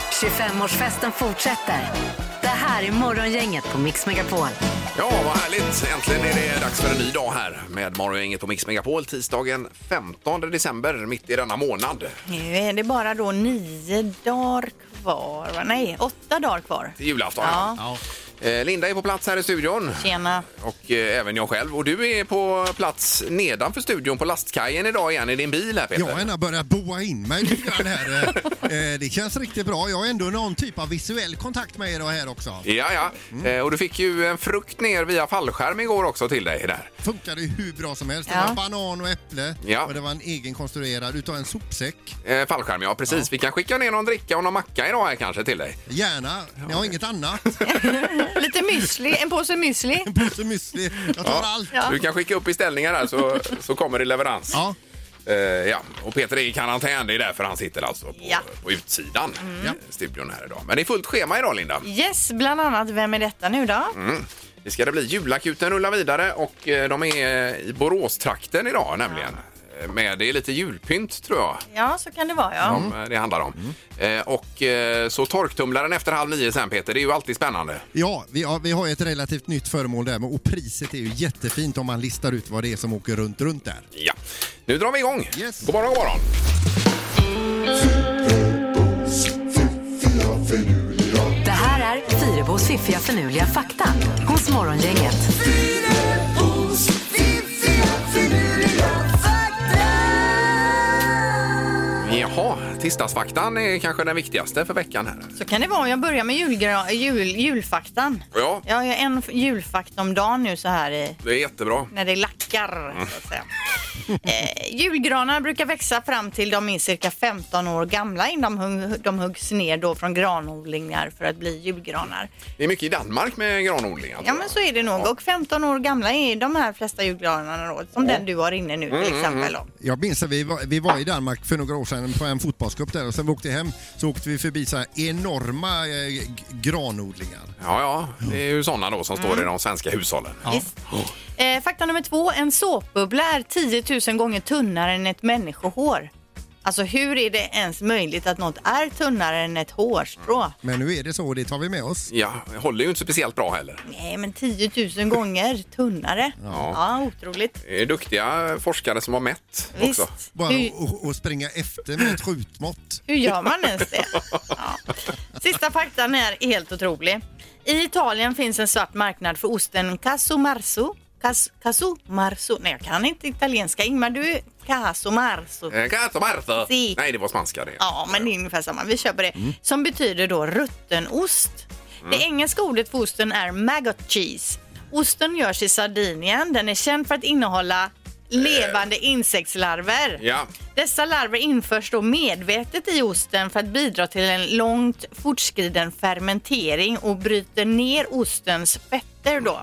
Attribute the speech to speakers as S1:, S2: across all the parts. S1: 25-årsfesten fortsätter. Det här är Morgongänget på Mix Megapol.
S2: Ja, vad härligt. Äntligen är det dags för en ny dag här med Morgongänget på Mix Megapol tisdagen 15 december, mitt i denna månad.
S3: Nu är det bara då nio dagar kvar, va? nej åtta dagar kvar.
S2: Till julafton.
S3: Ja.
S2: ja. Eh, Linda är på plats här i studion.
S3: Tjena.
S2: Och eh, även jag själv. Och du är på plats nedanför studion på lastkajen idag igen i din bil här Peter.
S4: Jag har ändå börjat boa in mig lite grann här. Eh, Det känns riktigt bra. Jag har ändå någon typ av visuell kontakt med er och här också.
S2: Ja, ja.
S4: Mm.
S2: Eh, och du fick ju en frukt ner via fallskärm igår också till dig där.
S4: Funkade ju hur bra som helst.
S3: Ja.
S4: Det var banan och äpple
S2: Ja.
S4: och det var en egen konstruerad utav en sopsäck.
S2: Eh, fallskärm, ja precis. Vi kan skicka ner någon dricka och någon macka idag här kanske till dig.
S4: Gärna. Jag har inget annat.
S3: Lite müsli, en påse müsli.
S4: En påse müsli. Jag tar allt.
S2: Du kan skicka upp beställningar här så, så kommer det leverans.
S4: Ja.
S2: Eh, ja. Och Peter är i karantän, det är därför han sitter alltså på,
S3: Ja. Mm.
S2: på utsidan i eh, studion här idag. Men det är fullt schema idag Linda.
S3: Yes, bland annat Vem är detta nu då?
S2: Mm. Det ska det bli. Julakuten rullar vidare och eh, de är i Boråstrakten idag nämligen. Eh, Med, det är lite julpynt tror jag.
S3: Ja, så kan det vara ja.
S2: som eh, det handlar om.
S3: Mm.
S2: Eh, och eh, så torktumlaren efter halv nio sen Peter, det är ju alltid spännande.
S4: Ja, vi har, vi har ett relativt nytt föremål där och priset är ju jättefint om man listar ut vad det är som åker runt, runt där.
S2: Ja. Nu drar vi igång.
S4: Yes.
S2: God morgon, god morgon.
S1: Det här är Fyrebos fiffiga förnuliga fakta hos Morgongänget.
S2: Jaha, tisdagsfaktan är kanske den viktigaste för veckan här.
S3: Så kan det vara om jag börjar med julgra- jul, julfaktan.
S2: Ja.
S3: Jag har ju en f- julfakt om dagen nu så här i
S2: Det är jättebra.
S3: när det lackar. Så att säga. Eh, julgranar brukar växa fram till de är cirka 15 år gamla innan de, hung- de huggs ner då från granodlingar för att bli julgranar.
S2: Det är mycket i Danmark med granodlingar. tror
S3: Ja
S2: jag.
S3: men så är det nog och 15 år gamla är de här flesta julgranarna då, som den du har inne nu till exempel. Då.
S4: Jag minns att vi var, vi var i Danmark för några år sedan på en fotbollscup där och sen vi åkte hem så åkte vi förbi så här enorma eh, g- granodlingar.
S2: Ja, ja, det är ju sådana då som
S3: Mm.
S2: står i de svenska hushållen.
S3: Visst. Eh, fakta nummer två, en såpbubbla är 10 000 gånger tunnare än ett människohår. Alltså hur är det ens möjligt att något är tunnare än ett hårstrå?
S4: Men nu är det så och det tar vi med oss.
S2: Ja, det håller ju inte speciellt bra heller.
S3: Nej, men 10 000 gånger tunnare. Ja, otroligt.
S2: Det är duktiga forskare som har mätt också.
S3: Visst.
S4: Bara
S3: Hur,
S4: och, och springa efter med ett skjutmått.
S3: hur gör man ens det? Ja. Sista faktan är helt otrolig. I Italien finns en svart marknad för osten Casumarzo. Cas, Casumarzo. Nej, jag kan inte italienska. Ingmar, du är Casumarzo.
S2: Eh, Kato Marta.
S3: Si.
S2: Nej, det var spanska det.
S3: Ja, men det är ungefär samma. Vi köper det. Som betyder då ruttenost. Det engelska ordet för osten är maggot cheese. Osten görs i Sardinien. Den är känd för att innehålla levande insektslarver.
S2: Ja.
S3: Dessa larver införs då medvetet i osten för att bidra till en långt fortskriden fermentering och bryter ner ostens fetter då.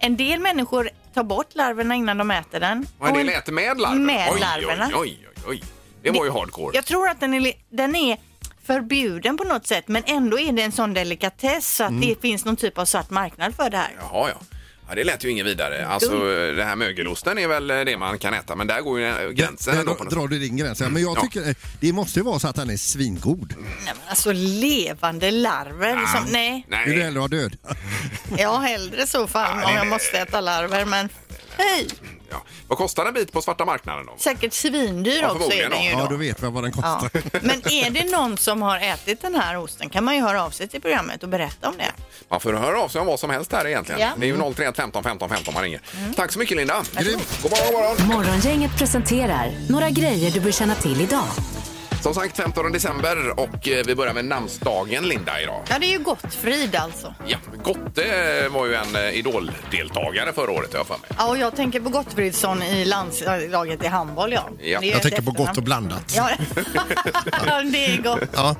S3: En del människor tar bort larverna innan de äter den.
S2: Och en
S3: Och
S2: del
S3: en-
S2: äter med larverna.
S3: Med
S2: oj,
S3: larverna.
S2: Oj, oj, oj, oj. Det var ju hardcore.
S3: Jag tror att den är, li- den är förbjuden på något sätt men ändå är det en sån delikatess så att det finns någon typ av svart marknad för det här.
S2: Jaha, Mm. ja. ja. Det lät ju inget vidare. Alltså, det här mögelosten är väl eh, det man kan äta, men där går ju gränsen.
S4: Där
S2: ändå på något
S4: drar du din gräns. Ja, Men jag
S2: Ja.
S4: tycker eh, det måste ju vara så att han är svingod.
S3: Nej, men alltså levande larver.
S2: sätt.
S3: Som, nej,
S4: Vill du
S2: Ah. Nej,
S4: hellre ha död?
S3: jag hellre så fan
S2: Nej,
S3: om
S2: nej,
S3: jag
S2: nej.
S3: måste äta larver men hej!
S2: ja. Vad kostar en bit på svarta marknaden då?
S3: Säkert svindyr
S2: Ja,
S3: också är
S2: förmodligen,
S3: den ju
S2: ja.
S4: Ja,
S3: då.
S4: då vet man vad den
S3: Ja.
S4: kostar.
S3: Men är det någon som har ätit den här osten kan man ju höra av sig till programmet och berätta om det.
S2: Man får höra av sig om vad som helst här egentligen.
S3: Ja. Mm.
S2: Det är ju 031 15 15 15 man ringer. Tack så mycket Linda.
S4: Grymt.
S2: God morgon, god morgon.
S1: Morgongänget presenterar några grejer du bör känna till idag.
S2: Som sagt 15 december och eh, vi börjar med namnsdagen Linda idag.
S3: Ja, det är ju Gottfrid alltså.
S2: Ja, Gotte var ju en eh, idoldeltagare förra året har jag för mig.
S3: Ja, och jag tänker på Gottfridsson i landslaget i handboll ja.
S2: Ja.
S3: Det är ju
S4: Jag
S3: ett
S4: tänker på gott och
S3: efternamn.
S4: blandat.
S3: Ja, det är gott.
S4: Ja.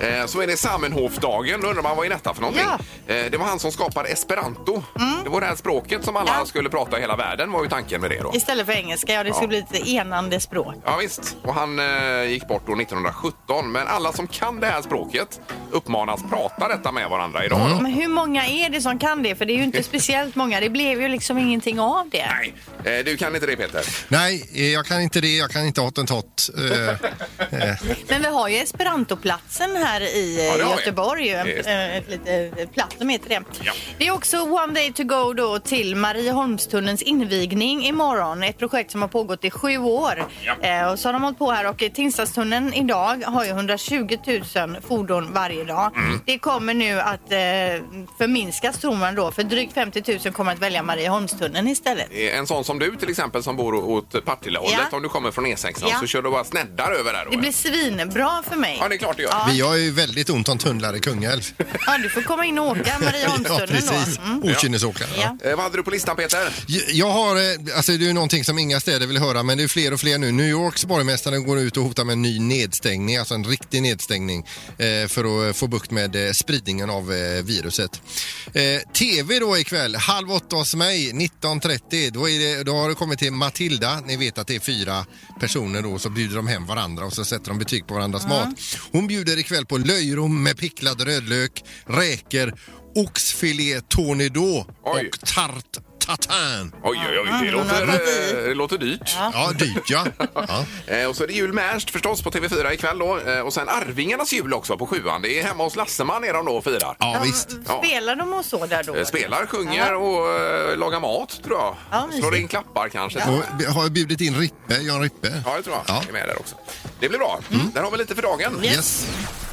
S2: Eh, Så är det Samenhofdagen. Då undrar man vad är detta för någonting? Eh, Det var han som skapade esperanto. Det var det här språket som alla
S3: Mm. Ja.
S2: skulle prata i hela världen var ju tanken med det då.
S3: Istället för engelska, ja det skulle bli lite enande språk.
S2: Ja visst, och han eh, gick bort då 1917. Men alla som kan det här språket uppmanas prata detta med varandra idag. Då.
S3: Men hur många är det som kan det? För det är ju inte speciellt många. Det blev ju liksom ingenting av det.
S2: Nej, eh, du kan inte det Peter.
S4: Nej, eh, jag kan inte det. Jag kan inte hottentott. Eh,
S3: Men vi har ju Esperantoplatsen här i
S2: Ja, det har vi.
S3: Göteborg. eh,
S2: Just.
S3: Ett litet platt som heter det.
S2: Ja.
S3: Det är också One Day To Go då till Marieholmstunnelns invigning imorgon. Ett projekt som har pågått i sju år.
S2: Ja.
S3: Eh, och så har de hållit på här och eh, Tingstadstunneln idag har ju 120 000 fordon varje dag.
S2: Mm.
S3: Det kommer nu att eh, förminskas tror man då för drygt 50 000 kommer att välja Marieholmstunneln istället.
S2: Eh, En sån som du till exempel som bor åt Partillehållet,
S3: Ja.
S2: om du kommer från E6
S3: Ja.
S2: så kör du bara sneddar över där då. eh.
S3: Det blir svinbra för mig.
S2: Ja, det är klart det gör.
S4: Vi har ju väldigt ont om tunnlar i Kungälv.
S3: Ja, du får komma in och åka
S4: ja,
S3: Marieholmstunneln
S4: precis.
S3: då. Mm.
S4: Okynnesåkare. Ja.
S3: Ja.
S2: Eh, vad hade du på listan Peter?
S4: J- Jag har, eh, alltså det är ju någonting som inga städer vill höra, men det är fler och fler nu. New Yorks borgmästare går ut och hotar med en ny nedstängning, alltså en riktig nedstängning, eh, för att eh, få bukt med eh, spridningen av eh, viruset. Eh, TV då ikväll, halv åtta hos mig, 19.30, då, är det, då har det kommit till Matilda. Ni vet att det är fyra personer då, så bjuder de hem varandra och så sätter de betyg på varandras mat. Hon bjuder ikväll på löjrom med picklad rödlök, räkor, oxfilé tornedå
S2: Oj.
S4: och tart tatin.
S2: Oj, oj, oj, det
S3: hon har
S2: låter,
S3: gått i.
S2: eh, det låter dyrt.
S4: Ja, dyrt ja. ja.
S2: Eh, och så är det jul med Ernst förstås på TV4 ikväll då. Eh, och sen Arvingarnas jul också på sjuan. Det är hemma hos Lasseman är de då och firar.
S4: Ja,
S3: De-
S4: visst.
S2: Ja.
S3: Spelar de och så där då?
S2: Eh, Spelar, sjunger och eh, lagar mat tror jag.
S3: Ja, mysigt.
S2: Slår in klappar kanske.
S4: Och vi har bjudit in Rippe, Jan Rippe.
S2: Ja, det tror jag.
S4: Ja.
S2: Jag är med där också. Det blir bra.
S3: Mm.
S2: Där har vi lite för dagen.
S4: Yes.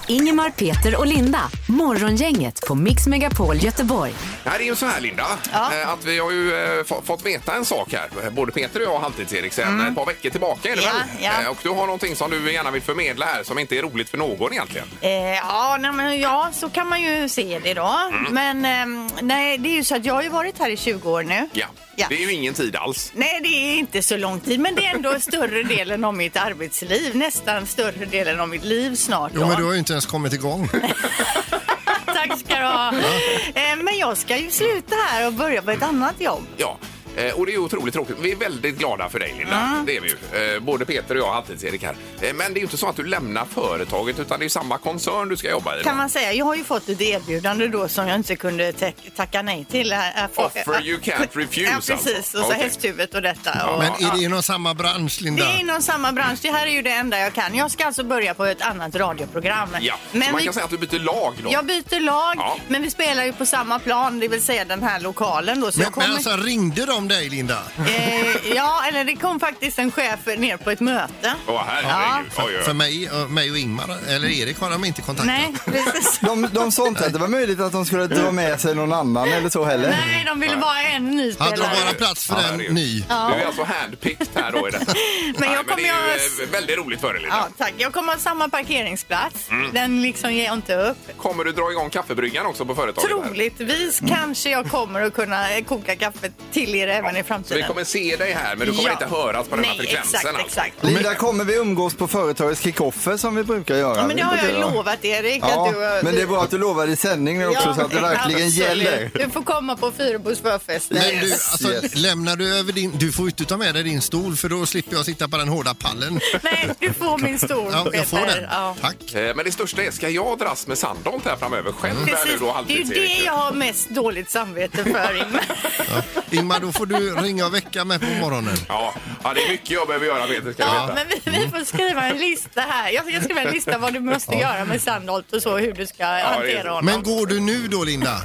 S1: Ingemar, Peter och Linda. Morgongänget på Mix Megapol Göteborg.
S2: Det här är ju så här, Linda,
S3: Ja.
S2: eh, att vi har ju eh, få- fått veta en sak här. Både Peter och jag och Halvtids-Erik sen ett par veckor tillbaka är det
S3: Mm. Ja,
S2: väl?
S3: ja.
S2: Eh, Och du har någonting som du gärna vill förmedla här som inte är roligt för någon egentligen.
S3: Eh, ja, nej, men, ja, så kan man ju se det då.
S2: Mm.
S3: Men ehm, nej, det är ju så att jag har ju varit här i 20 år nu.
S2: Ja.
S3: Ja.
S2: Det är ju ingen tid alls.
S3: Nej, det är inte så lång tid, men det är ändå större delen av mitt arbetsliv. Nästan större delen av mitt liv snart.
S4: Jo,
S3: då.
S4: men du har ju inte ens kommit igång.
S3: Tack ska du ha. Eh, Men jag ska ju sluta här och börja på ett annat jobb.
S2: Ja. Eh, Och det är otroligt tråkigt. Vi är väldigt glada för dig Linda. Det är vi ju. Eh, Både Peter och jag och Halvtids-Erik här. Eh, Men det är ju inte så att du lämnar företaget utan det är ju samma koncern du ska jobba i.
S3: Kan man säga. Jag har ju fått ett erbjudande då som jag inte kunde tack- tacka nej till. Här- här-
S2: Offer you can't refuse,
S3: Ja, precis.
S2: alltså.
S3: Och så
S2: Okej.
S3: hästhuvudet och detta. Och,
S4: Men är det inom samma bransch,
S3: Det
S4: Linda?
S3: är inom samma bransch. Det här är ju det enda jag kan. Jag ska alltså börja på ett annat radioprogram.
S2: Ja.
S3: Men
S2: så man
S3: vi,
S2: kan säga att du byter lag då.
S3: jag byter lag,
S2: Ja.
S3: men vi spelar ju på samma plan, det vill säga den här lokalen då. Så
S4: Men,
S3: jag kommer,
S4: men alltså, ringde de dig, Linda?
S3: eh, ja, eller det kom faktiskt en chef ner på ett möte.
S2: Åh herregud. Oj, oj,
S4: För,
S2: oj.
S4: för mig, och- mig och Ingmar, eller Erik, har de inte kontaktat.
S3: Nej, precis.
S5: De, de sa inte att det var möjligt att de skulle dra med sig någon annan eller så heller.
S3: Nej, de ville bara en ny
S4: Hade de
S3: spelare.
S4: bara plats för
S2: Ja,
S4: en
S2: herregud.
S4: ny?
S2: Du är alltså handpicked här då i detta. Nej,
S3: Men jag
S2: det
S3: kommer
S2: är
S3: att-
S2: ju eh, väldigt roligt för dig Linda.
S3: Ja, tack. Jag kommer ha samma parkeringsplats.
S2: Mm.
S3: Den liksom ger jag inte upp.
S2: Kommer du dra igång kaffebryggan också på företaget? här?
S3: Troligtvis
S2: Mm.
S3: kanske jag kommer att kunna eh, koka kaffe till er även i
S2: Så vi
S3: framtiden.
S2: kommer se dig här men du kommer
S3: Ja.
S2: inte höras på den här
S3: Nej,
S2: frekvensen
S3: exakt,
S2: alltså.
S3: exakt.
S5: Linda, kommer vi umgås på företagets kickoffer som vi brukar göra?
S3: Ja, men det har jag ju
S5: Vi brukar-
S3: lovat Erik.
S5: Ja,
S3: att du, har-
S5: men det är bra att du lovar i sändningen också
S3: Ja,
S5: så att det verkligen
S3: absolut.
S5: gäller.
S3: Du får komma på Fyrebos förfest.
S4: Men du,
S5: Yes,
S4: alltså,
S5: yes.
S4: lämnar du över din... Du får ju inte ta med dig din stol för då slipper jag sitta på den hårda pallen.
S3: Nej, du får min stol
S4: Ja, jag får
S3: Peter.
S4: den.
S3: Ja.
S4: Tack.
S2: Eh, Men det största är, ska jag dras med Sandholt här framöver själv? Där du
S3: Precis,
S2: då
S3: det är ju
S2: halvtids
S3: det jag har mest dåligt samvete för Ingmar.
S4: Ja. Ingmar, då får du ringa och väcka mig på morgonen.
S2: Ja. ja, det är mycket jag behöver göra Peter ska du
S3: Ja,
S2: veta.
S3: men vi, vi får skriva en lista här. Jag ska skriva en lista vad du måste göra med Sandholt och så hur du ska
S2: det är-
S3: hantera honom.
S4: Men går du nu då, Linda?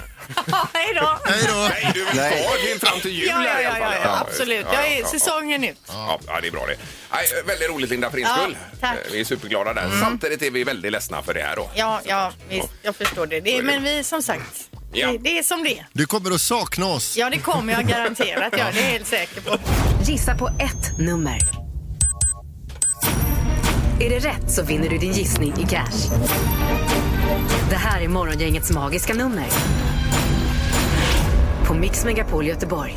S3: Ja, Hej då!
S4: Hej då!
S2: Nej, du vill
S5: Nej.
S2: ta till fram till jul
S3: Ja, ja,
S2: här i alla
S3: ja,
S2: fall.
S3: ja, ja, absolut.
S2: Ja,
S3: Jag
S2: ja,
S3: är
S2: ja.
S3: säsongen ut.
S2: Ja, ja, det är bra det. Nej, väldigt roligt Linda för din
S3: Ja,
S2: skull.
S3: tack. Mm.
S2: Eh, Vi är superglada där. Samtidigt är vi väldigt ledsna för det här då.
S3: Ja, ja, visst. Jag förstår det. det är, men vi, som sagt,
S2: Ja.
S3: det, det är som det är.
S4: Du kommer att sakna oss.
S3: Ja, det kommer jag garanterat göra. Det är jag helt säker på.
S1: Gissa på ett nummer. Är det rätt så vinner du din gissning i cash. Det här är Morgongängets magiska nummer. På Mix Megapol Göteborg.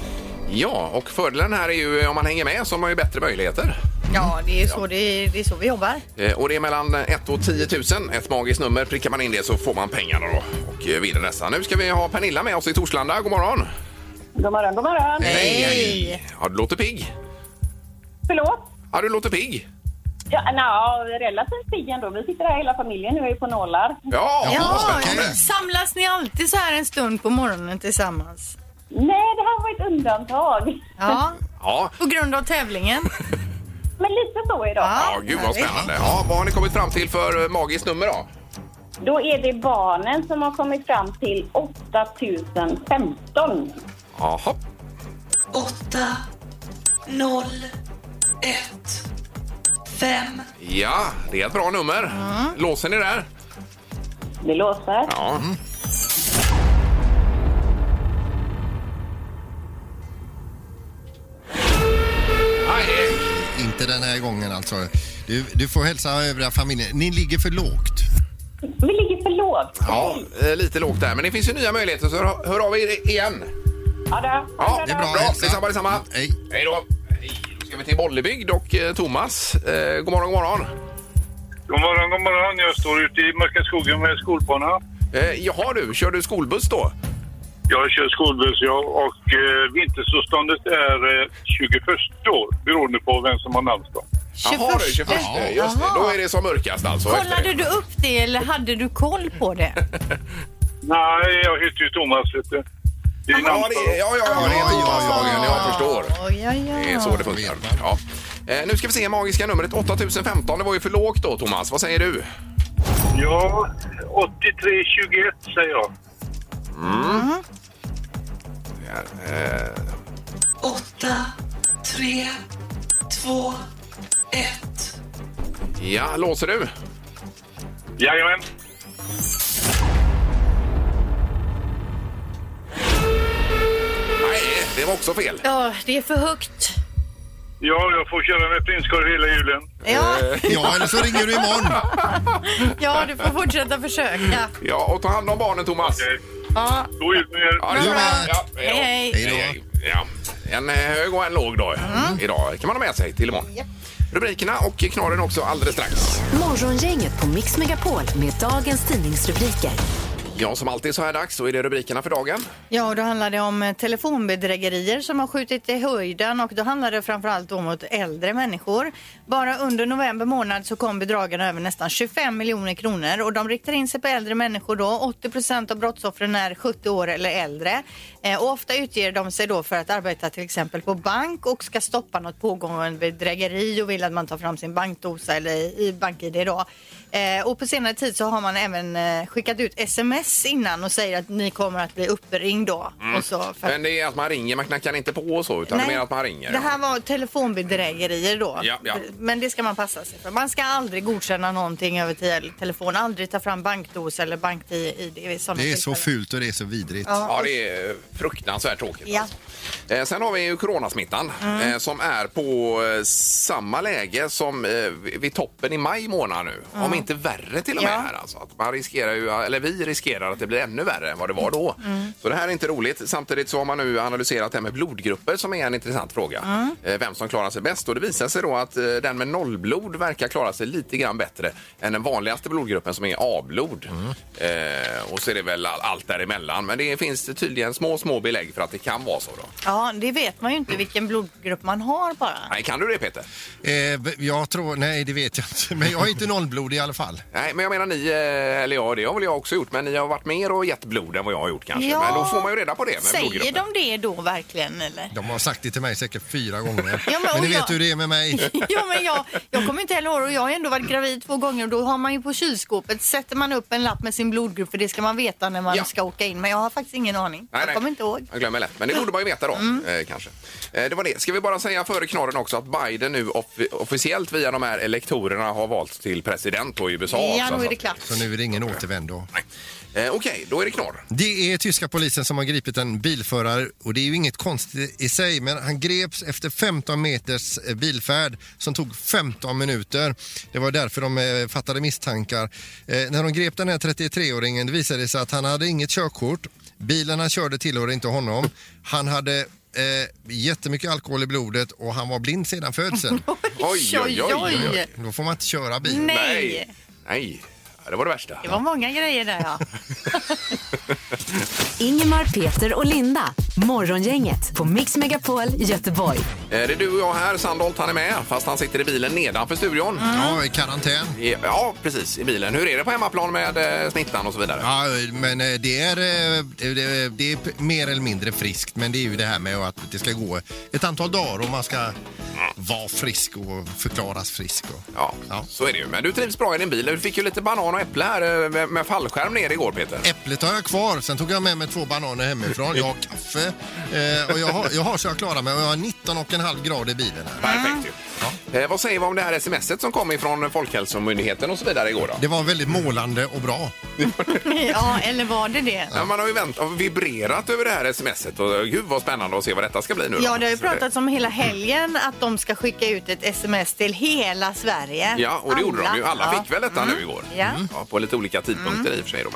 S2: Ja, och fördelen här är ju om man hänger med så har man ju bättre möjligheter.
S3: Ja, det är ju så, det är, det är så vi jobbar.
S2: Eh, Och det är mellan 1 och 10 000. Ett magiskt nummer. Prickar man in det så får man pengarna då och eh, vinner dessa. Nu ska vi ha Pernilla med oss i Torslanda. God morgon!
S6: God morgon, god morgon.
S2: Hej! Ja, du låter pigg.
S6: Förlåt?
S2: Ja, du låter pigg.
S6: Ja, na, relativt pigg ändå. Vi sitter här hela familjen nu och är på nålar.
S2: Ja, vad
S3: Ja,
S2: spännande.
S3: samlas ni alltid så här en stund på morgonen tillsammans?
S6: Nej, det här var ett undantag.
S3: Ja,
S2: Ja.
S3: på grund av tävlingen.
S6: Men lite så idag.
S2: ja, gud vad spännande. Ja, vad har ni kommit fram till för eh, magiskt nummer då?
S6: Då är det barnen som har kommit fram till 8015.
S2: Jaha.
S7: 8 0 1 5
S2: Ja, det är ett bra nummer. Låser ni där?
S6: Det låter.
S2: Ja. Aj,
S4: Inte den här gången alltså. Du, du får hälsa övriga familjen. Ni ligger för lågt.
S6: Vi ligger för lågt.
S2: Ja, eh, lite lågt där. Men det finns ju nya möjligheter så hör- hör av er igen.
S6: Ja, då.
S2: Ja,
S4: Det är bra.
S2: bra.
S4: Hälsa.
S2: Detsamma, detsamma.
S4: Hej.
S2: Hej då. Hej. Då ska vi till Bollebygd och eh, Thomas. Eh, god morgon, god morgon.
S8: God morgon, god morgon. Jag står ute i mörka skogen med skolbarnen.
S2: Eh, jaha du, kör du skolbuss då?
S8: Jag kör skolbuss jag, och eh, vintersolståndet är eh, 21 år beroende på vem som har namnsdag.
S2: Jaha du, 21.
S4: Ja.
S2: Just det,
S3: Jaha.
S2: då är det som mörkast alltså. efter
S3: Kollade
S2: det.
S3: du upp det eller hade du koll på det?
S8: Nej, jag heter ju Thomas. Vet du. Det är
S2: Ja, det är,
S8: namnsdag.
S2: ja, ja, ja, det är Thomasdagen. Jag förstår.
S3: Oj, oj, oj.
S2: Det är så det funkar. Ja. Eh, nu ska vi se magiska numret 8015. Det var ju för lågt då, Thomas. Vad säger du?
S8: Ja, 8321 säger jag.
S7: 8 3 2 1
S2: Ja, låser du?
S8: Jajamän.
S2: Nej, det var också fel.
S3: Ja, det är för högt.
S8: Ja, jag får köra med prinskorv hela julen.
S3: Ja,
S2: Eh.
S4: Ja, eller så ringer du imorgon.
S3: ja du får fortsätta försöka.
S2: Ja, och ta hand om barnen, Thomas.
S8: Okej.
S3: Ja.
S8: Eh, God jul med er.
S2: Ja, det
S4: Du
S2: är bra.
S4: med.
S2: Ja,
S3: Hej, hej.
S2: hej då. Hej, hej. Ja. En eh, hög och en låg då.
S3: Mm.
S2: Idag kan man ha med sig till imorgon. Rubrikerna och knorren också alldeles strax.
S1: Morgongänget på Mix Megapol med dagens tidningsrubriker.
S2: Ja, som alltid så här dags så är det rubrikerna för dagen.
S3: Ja, och då handlar det om eh, telefonbedrägerier som har skjutit i höjden och då handlar det framförallt om mot äldre människor. Bara under november månad så kom bedragarna över nästan 25 miljoner kronor och de riktar in sig på äldre människor då. 80 procent av brottsoffren är 70 år eller äldre Eh, och ofta utger de sig då för att arbeta till exempel på bank och ska stoppa något pågående bedrägeri och vill att man tar fram sin bankdosa eller i bank-id då. Eh, och på senare tid så har man även eh, skickat ut sms innan och säger att ni kommer att bli uppringd då. Och så för
S2: Mm. Men det är att man ringer, man knackar inte på och så, utan det är mer att man ringer.
S3: det här var telefonbedrägerier då.
S2: Ja, ja.
S3: Men det ska man passa sig för. Man ska aldrig godkänna någonting över tel- telefon. Aldrig ta fram bankdos eller bank-id. vid sådana
S4: Det är så
S3: tillfällen.
S4: fult och det är så vidrigt.
S2: Ja, det är eh, fruktansvärt tråkigt.
S3: Ja.
S2: alltså. Eh, Sen har vi ju coronasmittan eh, som är på eh, samma läge som eh, vid vid toppen i maj månad nu. Om inte värre till och med.
S3: Ja.
S2: Här, alltså. att man riskerar ju, eller vi riskerar att det blir ännu värre än vad det var då.
S3: Mm.
S2: Så det här är inte roligt. Samtidigt så har man nu analyserat det här med blodgrupper som är en intressant fråga. Eh, Vem som klarar sig bäst. Och det visar sig då att eh, den med nollblod verkar klara sig lite grann bättre än den vanligaste blodgruppen som är A-blod. Eh, och så är det väl all- allt däremellan. Men det finns tydligen små, små belägg för att det kan vara så. Då.
S3: Ja, det vet man ju
S2: Mm.
S3: inte vilken blodgrupp man har bara.
S2: Nej, kan du det Peter?
S4: Eh, v- jag tror, nej det vet jag inte. Men jag är inte nollblod i alla fall.
S2: Nej, men jag menar ni, eh, eller ja, det har väl jag också gjort, men ni har varit mer och gett blod än vad jag har gjort kanske.
S3: Ja.
S2: Men då får man ju reda på det med
S3: Säger
S2: blodgruppen.
S3: de det då verkligen eller?
S4: De har sagt det till mig säkert fyra gånger.
S3: Ja, men-
S4: men ni
S3: och
S4: vet
S3: jag-
S4: hur det är med mig.
S3: ja, men jag, jag kommer inte heller ihåg och jag har ändå varit gravid två gånger och då har man ju på kylskåpet sätter man upp en lapp med sin blodgrupp för det ska man veta när man
S2: Ja.
S3: ska åka in. Men jag har faktiskt ingen aning.
S2: Nej,
S3: jag
S2: nej.
S3: kommer inte ihåg. Mm.
S2: Jag glömmer lätt. Men det borde man ju veta då, eh, kanske. Eh, det var det. Ska vi bara säga före knorren också att Biden nu offi- officiellt via de här elektorerna har valts till president då i USA.
S3: Ja,
S2: också,
S3: nu är det
S2: alltså.
S3: klart.
S4: Så nu är det ingen återvändo.
S2: Nej. Eh, Okej, då är det knorr.
S4: Det är tyska polisen som har gripit en bilförare och det är ju inget konstigt i sig men han greps efter 15 meters eh, bilfärd som tog 15 minuter. Det var därför de eh, fattade misstankar. Eh, när de grep den här 33-åringen det visade det sig att han hade inget körkort. Bilen han körde tillhörde inte honom. Han hade eh, jättemycket alkohol i blodet och han var blind sedan födseln.
S2: Oj, oj, oj, oj, oj.
S4: Då får man inte köra bil.
S3: Nej.
S2: Nej, Ja, det var det värsta.
S3: Det var många grejer där ja.
S1: Ingemar, Peter och Linda. Morgongänget på Mix Megapol Göteborg.
S2: Eh, Det är du och jag här. Sandholt han är med, fast han sitter i bilen nedanför studion.
S3: Mm.
S4: Ja, i karantän.
S2: I- Ja, precis. I bilen. Hur är det på hemmaplan med eh, smittan och så vidare?
S4: Ja, men eh, det är, eh, det, det är p- mer eller mindre friskt, men det är ju det här med att det ska gå ett antal dagar och man ska vara frisk och förklaras frisk. Och,
S2: Ja, så är det ju. Men du trivs bra i din bil. Du fick ju lite banan och äpple här eh, med, med fallskärm ner igår, Peter.
S4: Äpplet har jag kvar, sen tog jag med mig två bananer hemifrån. Jag har kaffe eh, och jag har, jag har så jag klarar mig och jag har 19,5 grader i bilen. Här.
S2: Perfekt ju. Eh, vad säger vi om det här smset som kom ifrån Folkhälsomyndigheten och så vidare igår då?
S4: Det var väldigt målande och bra.
S3: Ja, eller var det det?
S2: Ja. Man har ju vänt, har vibrerat över det här smset och eh, gud vad spännande att se vad detta ska bli nu då.
S3: Ja, det har ju
S2: Så det-
S3: pratats om hela helgen att de ska skicka ut ett sms till hela Sverige.
S2: Ja, och det gjorde de ju. Alla
S3: Ja.
S2: fick väl detta nu igår?
S3: Mm.
S2: Mm.
S3: Ja. Mm.
S2: Ja, på lite olika tidpunkter i och för sig. Då,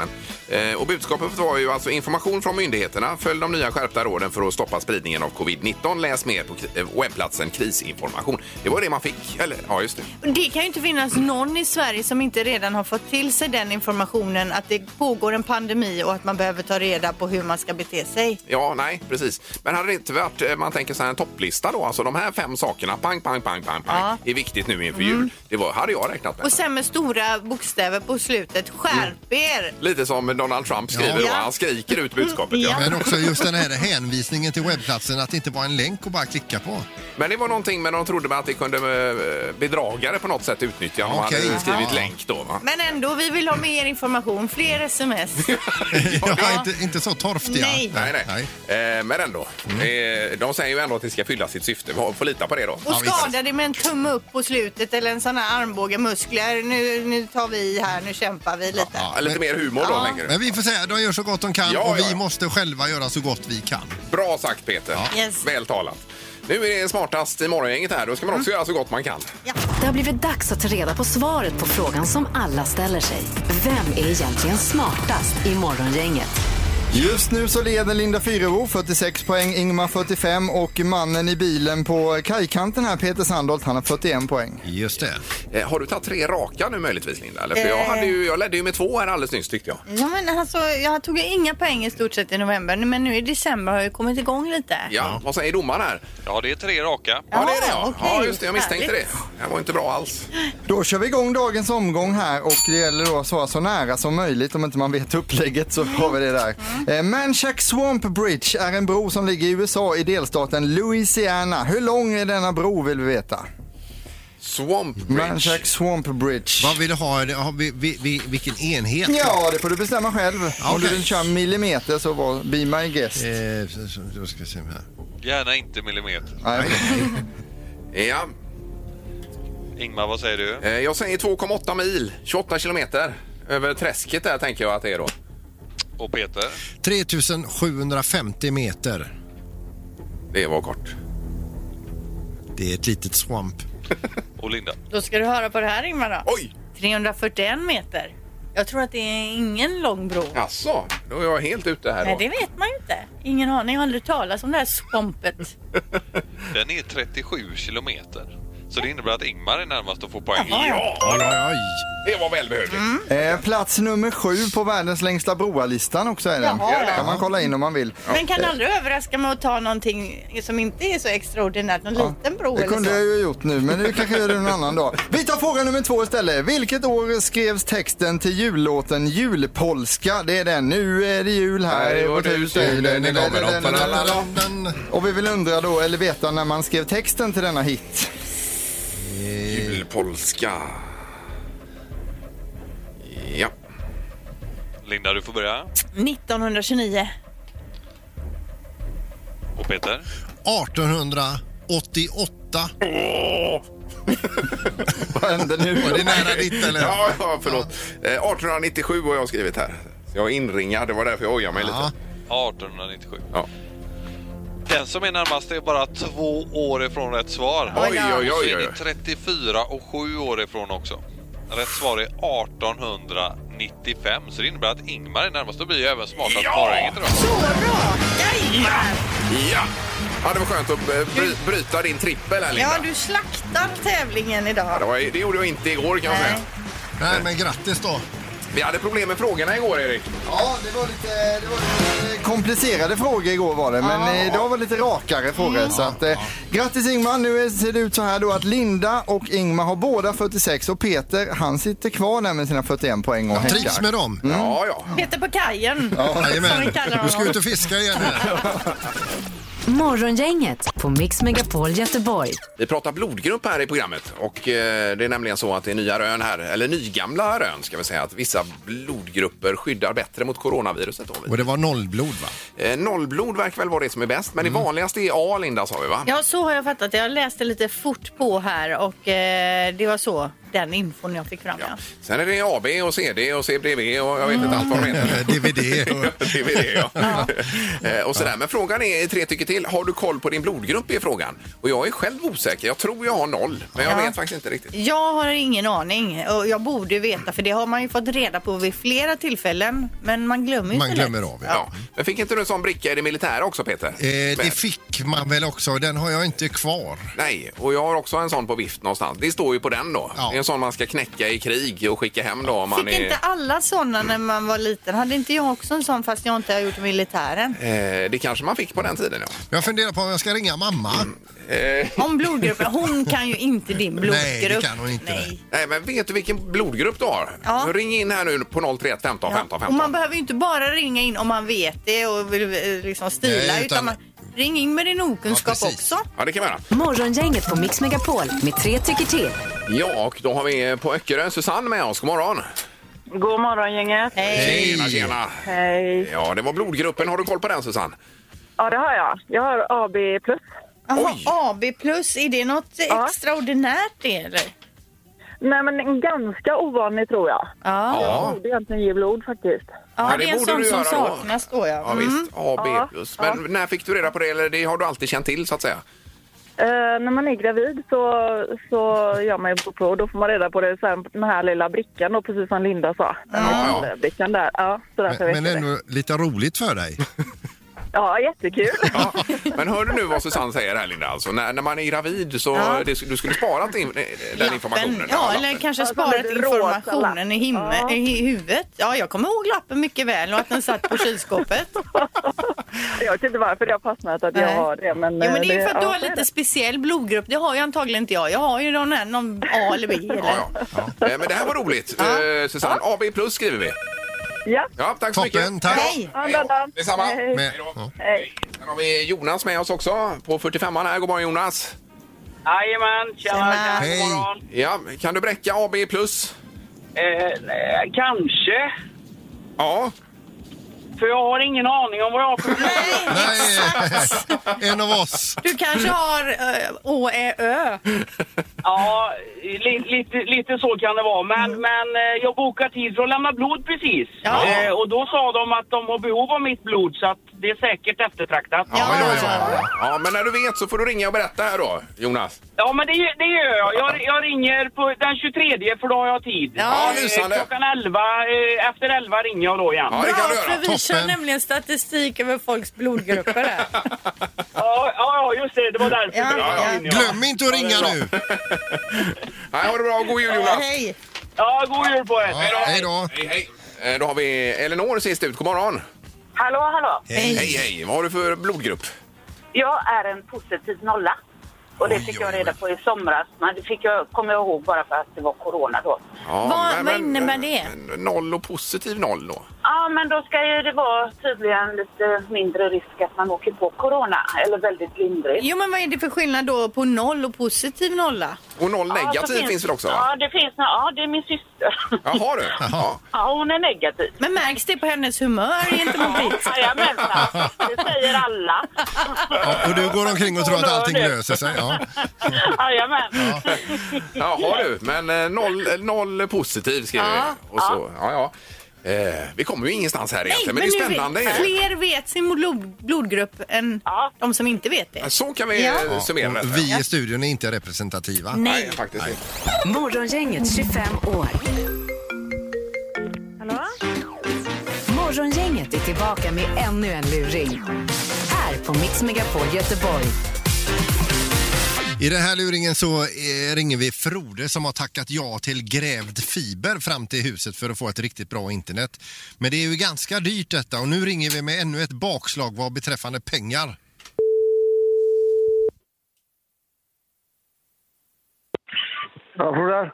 S2: men, eh, och budskapet var ju alltså information från myndigheterna. Följ de nya skärpta råden för att stoppa spridningen av covid-19. Läs mer på kri- eh, webbplatsen krisinformation. Det var det man fick. Eller, ja, just det.
S3: Det kan ju inte finnas någon i Sverige som inte redan har fått till sig den informationen att det pågår en pandemi och att man behöver ta reda på hur man ska bete sig.
S2: Ja, nej, precis. Men hade det inte varit, eh, man tänker så här, en topplista då? Alltså de här fem sakerna, pang, pang, pang, pang, pang,
S3: Ja.
S2: är viktigt nu inför jul. Det var, hade jag räknat med.
S3: Och sen med stora bokstäver på slutet, skärp er!
S2: Lite som Donald Trump skriver
S4: Ja.
S2: då. Han skriker ut budskapet.
S3: Ja.
S4: Men också just den här hänvisningen till webbplatsen, att det inte var en länk att bara klicka på.
S2: Men det var någonting med de trodde med att det kunde eh, bedragare på något sätt utnyttja om
S4: Okej.
S2: man hade skrivit
S4: Jaha.
S2: länk då. Va?
S3: Men ändå, vi vill ha mer information, fler sms.
S4: Ja, inte, inte så torftiga.
S3: Nej.
S2: Nej, nej. Eh, men ändå. Eh, de säger ju ändå att det ska fylla sitt syfte. Vi får lita på det då.
S3: Och
S4: visst.
S3: skada dig med en tumme upp på slutet eller en sån här armbåge, muskler. Nu, nu tar vi i här, nu kämpar vi lite.
S2: Ja, lite mer humor då, tänker du.
S4: Men vi får säga, de gör så gott de kan
S2: Ja,
S4: och vi
S2: ja.
S4: måste själva göra så gott vi kan.
S2: Bra sagt, Peter.
S3: Yes.
S2: Väl talat. Nu är det smartast i morgongänget här. Då ska man också göra så gott man kan.
S1: Det har blivit dags att ta reda på svaret på frågan som alla ställer sig. Vem är egentligen smartast i Morgongänget?
S5: Just nu så leder Linda Fyrebo 46 poäng, Ingmar 45 och mannen i bilen på kajkanten här, Peter Sandholt, han har 41 poäng.
S4: Just det.
S2: Eh, har du tagit tre raka nu möjligtvis, Linda? Eller? För jag,
S3: Eh.
S2: hade ju, jag ledde ju med två här alldeles nyss, tyckte jag.
S3: Ja, men alltså, jag tog ju inga poäng i stort sett i november, men nu i december har jag kommit igång lite.
S2: Ja, vad säger domaren här?
S9: Ja, det är tre raka.
S2: Ja, det är det. Ja,
S3: okej.
S2: ja just det. Jag misstänkte
S3: Härligt.
S2: det. Det här var inte bra alls.
S5: Då kör vi igång dagens omgång här och det gäller då att svara så nära som möjligt. Om inte man vet upplägget så har vi det där. Eh, Manchac Swamp Bridge är en bro som ligger i USA i delstaten Louisiana. Hur lång är denna bro vill vi veta?
S2: Swamp Bridge.
S5: Manchac Swamp Bridge.
S4: Vad vill du ha? Har vi, vi, vi, vilken enhet?
S5: Ja, det får du bestämma själv. Om du
S4: Okej.
S5: vill köra millimeter så var, be my guest.
S4: Eh, så- så- då ska vi se här.
S9: Gärna inte millimeter.
S5: Nej.
S2: Ja.
S9: Ingmar, vad säger du?
S2: Eh, Jag säger 2,8 mil, 28 kilometer. Över träsket där tänker jag att det är då.
S9: Och Peter?
S4: 3750 meter.
S2: Det var kort.
S4: Det är ett litet swamp.
S9: Och Linda?
S3: Då ska du höra på det här Ingmar då.
S2: Oj!
S3: 341 meter. Jag tror att det är ingen lång bro.
S2: Jaså, då är jag helt ute här då.
S3: Nej, det vet man ju inte. Ingen aning, jag har aldrig talat om det här svampet.
S9: Den är 37 kilometer. Så det innebär att Ingmar är närmast att få poäng.
S2: Ja,
S4: Oj, oj, oj.
S2: det var välbehövligt.
S3: Mm.
S5: Eh, plats nummer sju på världens längsta broalistan också är den.
S3: Jaha, ja.
S5: kan man kolla in om man vill.
S3: Men kan aldrig överraska med att ta någonting som inte är så extraordinärt, någon liten bro
S5: Det
S3: eller
S5: kunde
S3: så.
S5: jag ju gjort nu, men nu kanske jag gör det en annan dag. Vi tar fråga nummer två istället. Vilket år skrevs texten till jullåten Julpolska? Det är den. Nu är det jul här i vårt hus.
S4: Den- den- den- den- den-
S5: Och vi vill undra då, eller veta, när man skrev texten till denna hit.
S2: Julpolska. Ja.
S9: Linda, du får börja.
S3: 1929.
S9: Och Peter?
S4: 1888.
S5: Vad hände nu?
S4: Var det nära ditt eller?
S2: Ja, ja, förlåt. Eh, 1897 har jag skrivit här. Så Jag är inringad, det var därför jag ojade mig
S4: Ja.
S2: lite.
S9: 1897.
S2: Ja.
S9: Den som är närmast är bara två år ifrån rätt svar.
S2: Oj, oj,
S9: Och så
S2: oj.
S9: är
S2: oj.
S9: ni 34 och 7 år ifrån också. Rätt svar är 1895, så det innebär att Ingmar är närmast. Då blir ju även smartast
S2: Ja!
S9: morgongänget idag.
S2: Ja! ja, det var skönt att eh, bry,
S3: Mm.
S2: bryta din trippel här, Linda.
S3: Ja, du slaktar tävlingen
S2: Ja, det,
S3: idag.
S2: var, det gjorde jag inte igår kan jag
S3: Nej.
S2: säga.
S4: Nej, men grattis då.
S2: Vi hade problem med frågorna igår, Erik.
S3: Mm.
S5: Ja, det var lite, det var lite komplicerade frågor igår var det, men eh, idag var det lite rakare frågor. Så att, eh, grattis Ingmar, nu är- ser det ut så här då att Linda och Ingmar har båda 46 och Peter han sitter kvar där med sina 41 poäng och
S4: Jag trivs
S5: häckar.
S4: med dem.
S2: Ja, ja.
S3: Peter på kajen, som vi
S4: Jajamän.
S3: kallar
S4: Du ska ut
S3: honom.
S4: och fiska igen. här.
S1: Morgongänget på Mix Megapol Göteborg.
S2: Vi pratar blodgrupp här i programmet och eh, det är nämligen så att det är nya rön här, eller nygamla rön ska vi säga, att vissa blodgrupper skyddar bättre mot coronaviruset. Då.
S4: Och det var nollblod va?
S2: Eh, Nollblod verkar väl vara det som är bäst, men det vanligaste är A, Linda, sa vi va?
S3: Mm. Ja, så har jag fattat det. Jag läste lite fort på här och eh, det var så den infon jag fick fram. Ja.
S2: Sen är det AB och CD och CBDV och jag vet inte allt vad de
S4: Eh,
S2: heter.
S4: DVD. och-
S2: DVD, ja. Eh, och sådär. Men frågan är, tre tycker till, har du koll på din blodgrupp är frågan. Och jag är själv osäker, jag tror jag har noll, men jag
S3: Ja.
S2: vet faktiskt inte riktigt.
S3: Jag har ingen aning och jag borde veta för det har man ju fått reda på vid flera tillfällen. Men man glömmer ju
S4: Man
S3: så
S4: glömmer
S3: lätt.
S4: av. Ja.
S2: Ja. Men fick inte du en sån bricka i det militära också, Peter?
S4: Eh,
S2: Men-
S4: det fick man väl också. Den har jag inte kvar.
S2: Nej, och jag har också en sån på vift någonstans. Det står ju på den då.
S4: Ja.
S2: Det är en sån man ska knäcka i krig och skicka hem då om man
S3: Fick
S2: är...
S3: inte alla sådana när man var liten? Hade inte jag också en sån fast jag inte har gjort militären?
S2: Eh, det kanske man fick på den tiden, ja.
S4: Jag funderar på om jag ska ringa mamma.
S3: Om blodgruppen. Hon kan ju inte din blodgrupp.
S4: Nej, det kan hon inte.
S3: Nej.
S2: Nej, men vet du vilken blodgrupp du har?
S3: Ja.
S2: Ring in här nu på 031 15 15
S3: Och
S2: 15.
S3: man behöver ju inte bara ringa in om man vet det och vill eh, liksom stila utan,
S4: Nej, utan-
S3: man, ring in med din okunskap
S4: Ja, precis.
S3: också.
S2: Ja, det kan man göra.
S1: Morgongänget på Mix Megapol med tre tycker till.
S2: Ja, och då har vi på Öckerö Susanne med oss. God morgon!
S6: God morgon gänget.
S4: Hej.
S2: Tjena, tjena!
S6: Hej.
S2: Ja, det var blodgruppen. Har du koll på den, Susanne?
S6: Ja, det har jag. Jag har AB+. plus.
S3: Jaha,
S2: Oj.
S3: AB plus, är det något
S6: Ja.
S3: extraordinärt det eller?
S6: Nej, men ganska ovanlig tror jag.
S3: Ja,
S2: Ja,
S6: Borde egentligen ge blod faktiskt.
S2: Ja,
S3: ja
S2: det
S3: det är en
S2: borde
S3: sån
S2: du
S3: som
S2: göra då.
S3: saknas då ja.
S2: ja
S3: Mm.
S2: visst.
S6: Ja,
S2: AB plus. Men
S6: ja.
S2: när fick du reda på det? Eller det har du alltid känt till, så att säga?
S6: Eh, när man är gravid så, så gör man ju blodprov. Då får man reda på det sen den här lilla brickan då, precis som Linda sa. Den
S2: Ja.
S6: här brickan där. Ja, så därför
S4: Men,
S6: vet
S4: men
S6: jag det.
S4: ändå lite roligt för dig.
S6: Ja, jättekul.
S2: Ja, men hör du nu vad Susanne säger här Linda, alltså, när, när man är gravid så
S3: Ja.
S2: det, du skulle sparat in, den informationen.
S3: ja, eller kanske
S6: Ja, som
S3: sparat
S6: lite rosa
S3: informationen i, himme,
S6: lapp. Ja.
S3: i huvudet. Ja, jag kommer ihåg lappen mycket väl och att den satt på kylskåpet.
S6: Jag vet inte varför det har fastnat att jag
S3: Nej.
S6: har det. Men,
S3: Jo, men det är ju
S6: eh,
S3: för att du
S6: ja,
S3: har
S6: så är
S3: lite speciell blodgrupp. Det har jag antagligen inte jag. Jag har ju någon, här, någon A eller B. Eller?
S2: Ja, ja. Eh, Men det här var roligt. Eh, Susanne, AB plus skriver vi.
S6: det. Ja,
S2: Ja, tack så
S4: Toppen,
S2: mycket.
S4: tack.
S3: Hej!
S6: ha en
S2: Hej
S6: bra
S2: då.
S6: dag.
S2: Detsamma.
S6: Hej.
S4: Men,
S2: Hej då.
S4: ja.
S6: Hej.
S2: Sen har vi Jonas med oss också på 45an här. God morgon Jonas.
S7: Jajamän, tjena,
S3: Tjena.
S4: Hej.
S7: god morgon.
S2: Ja, kan du bräcka AB plus?
S7: Eh, eh, kanske,
S2: Ja.
S7: för jag har ingen aning om vad jag har för...
S4: Nej, eh, en av oss.
S3: Du kanske har eh, Å, Ä, Ö.
S7: ja, li, lite, lite så kan det vara. Men, men eh, jag bokar tid för att lämna blod precis.
S3: Ja.
S7: Eh, och då sa de att de har behov av mitt blod, så att det är säkert eftertraktat.
S2: men,
S3: ja,
S2: då så.
S3: ja.
S2: ja, men när du vet så får du ringa och berätta här då, Jonas.
S7: Ja, men det, det gör jag. jag. Jag ringer på den 23 för då har jag tid.
S2: Ja,
S3: Ja,
S7: Eh,
S2: lysande.
S7: Klockan 11, eh, efter 11 ringer jag då igen.
S2: Ja, det
S3: bra,
S2: kan du göra.
S3: för vi kör
S4: Toppen.
S3: nämligen statistik över folks blodgrupper här.
S7: Ja, ja, ja, just det. Det var därför.
S3: Ja,
S7: jag
S3: ja.
S7: ringde in,
S4: Glöm inte att ringa nu.
S2: Nej, ha det bra. God jul Jonas.
S3: Hej!
S7: Ja, god jul på er.
S4: Ja, hej då.
S2: Hej, hej. Eh, Då har vi Elinor sist ut. God morgon.
S6: Hallå, hallå.
S2: Hej, hej. Vad har du för blodgrupp?
S6: Jag är en positiv nolla. Och det
S4: Oj,
S6: fick
S4: oj,
S6: jag
S4: oj.
S6: reda på i somras. Men det fick jag, kommer jag ihåg bara för att det var corona då.
S2: Ja, men-
S3: Vad- vad
S2: men,
S3: innebär
S2: eh,
S3: det?
S2: Noll och positiv noll då.
S6: Ja, men då ska ju det vara tydligen lite mindre risk att man åker på corona. Eller väldigt lindrigt.
S3: Jo, men vad är det för skillnad då på noll och positiv nolla?
S2: Och noll negativ
S6: Ja, så
S2: finns, väl också? Va?
S6: Ja, det finns. Ja, det är min syster.
S2: Jaha du. Ja.
S6: Ja, hon är negativ.
S3: Men märks det på hennes humör gentemot ditt?
S6: Jajamensan, det säger alla.
S4: Ja, och du går omkring och tror att allting löser sig. Ja.
S6: Jajamän.
S2: Jaha du, men eh, noll, eh, noll positiv skriver
S3: Ja.
S2: vi. Och så, ja, ja. Eh, vi kommer ju ingenstans här egentligen, men, det är
S3: nu
S2: spännande.
S3: vet,
S2: är det?
S3: fler vet sin blod, blodgrupp än
S6: Ja.
S3: de som inte vet det.
S2: Så kan vi
S3: Ja.
S2: ja. summera
S4: Och
S2: detta.
S4: vi i studion är inte representativa.
S2: Nej, faktiskt inte.
S1: Morgongänget 25 år.
S6: Hallå?
S1: Morgongänget är tillbaka med ännu en luring. Här på Mix Megapol Göteborg.
S4: I den här luringen så eh, ringer vi Frode som har tackat ja till grävd fiber fram till huset för att få ett riktigt bra internet. Men det är ju ganska dyrt detta och nu ringer vi med ännu ett bakslag vad beträffande pengar.
S8: Ja, Frode.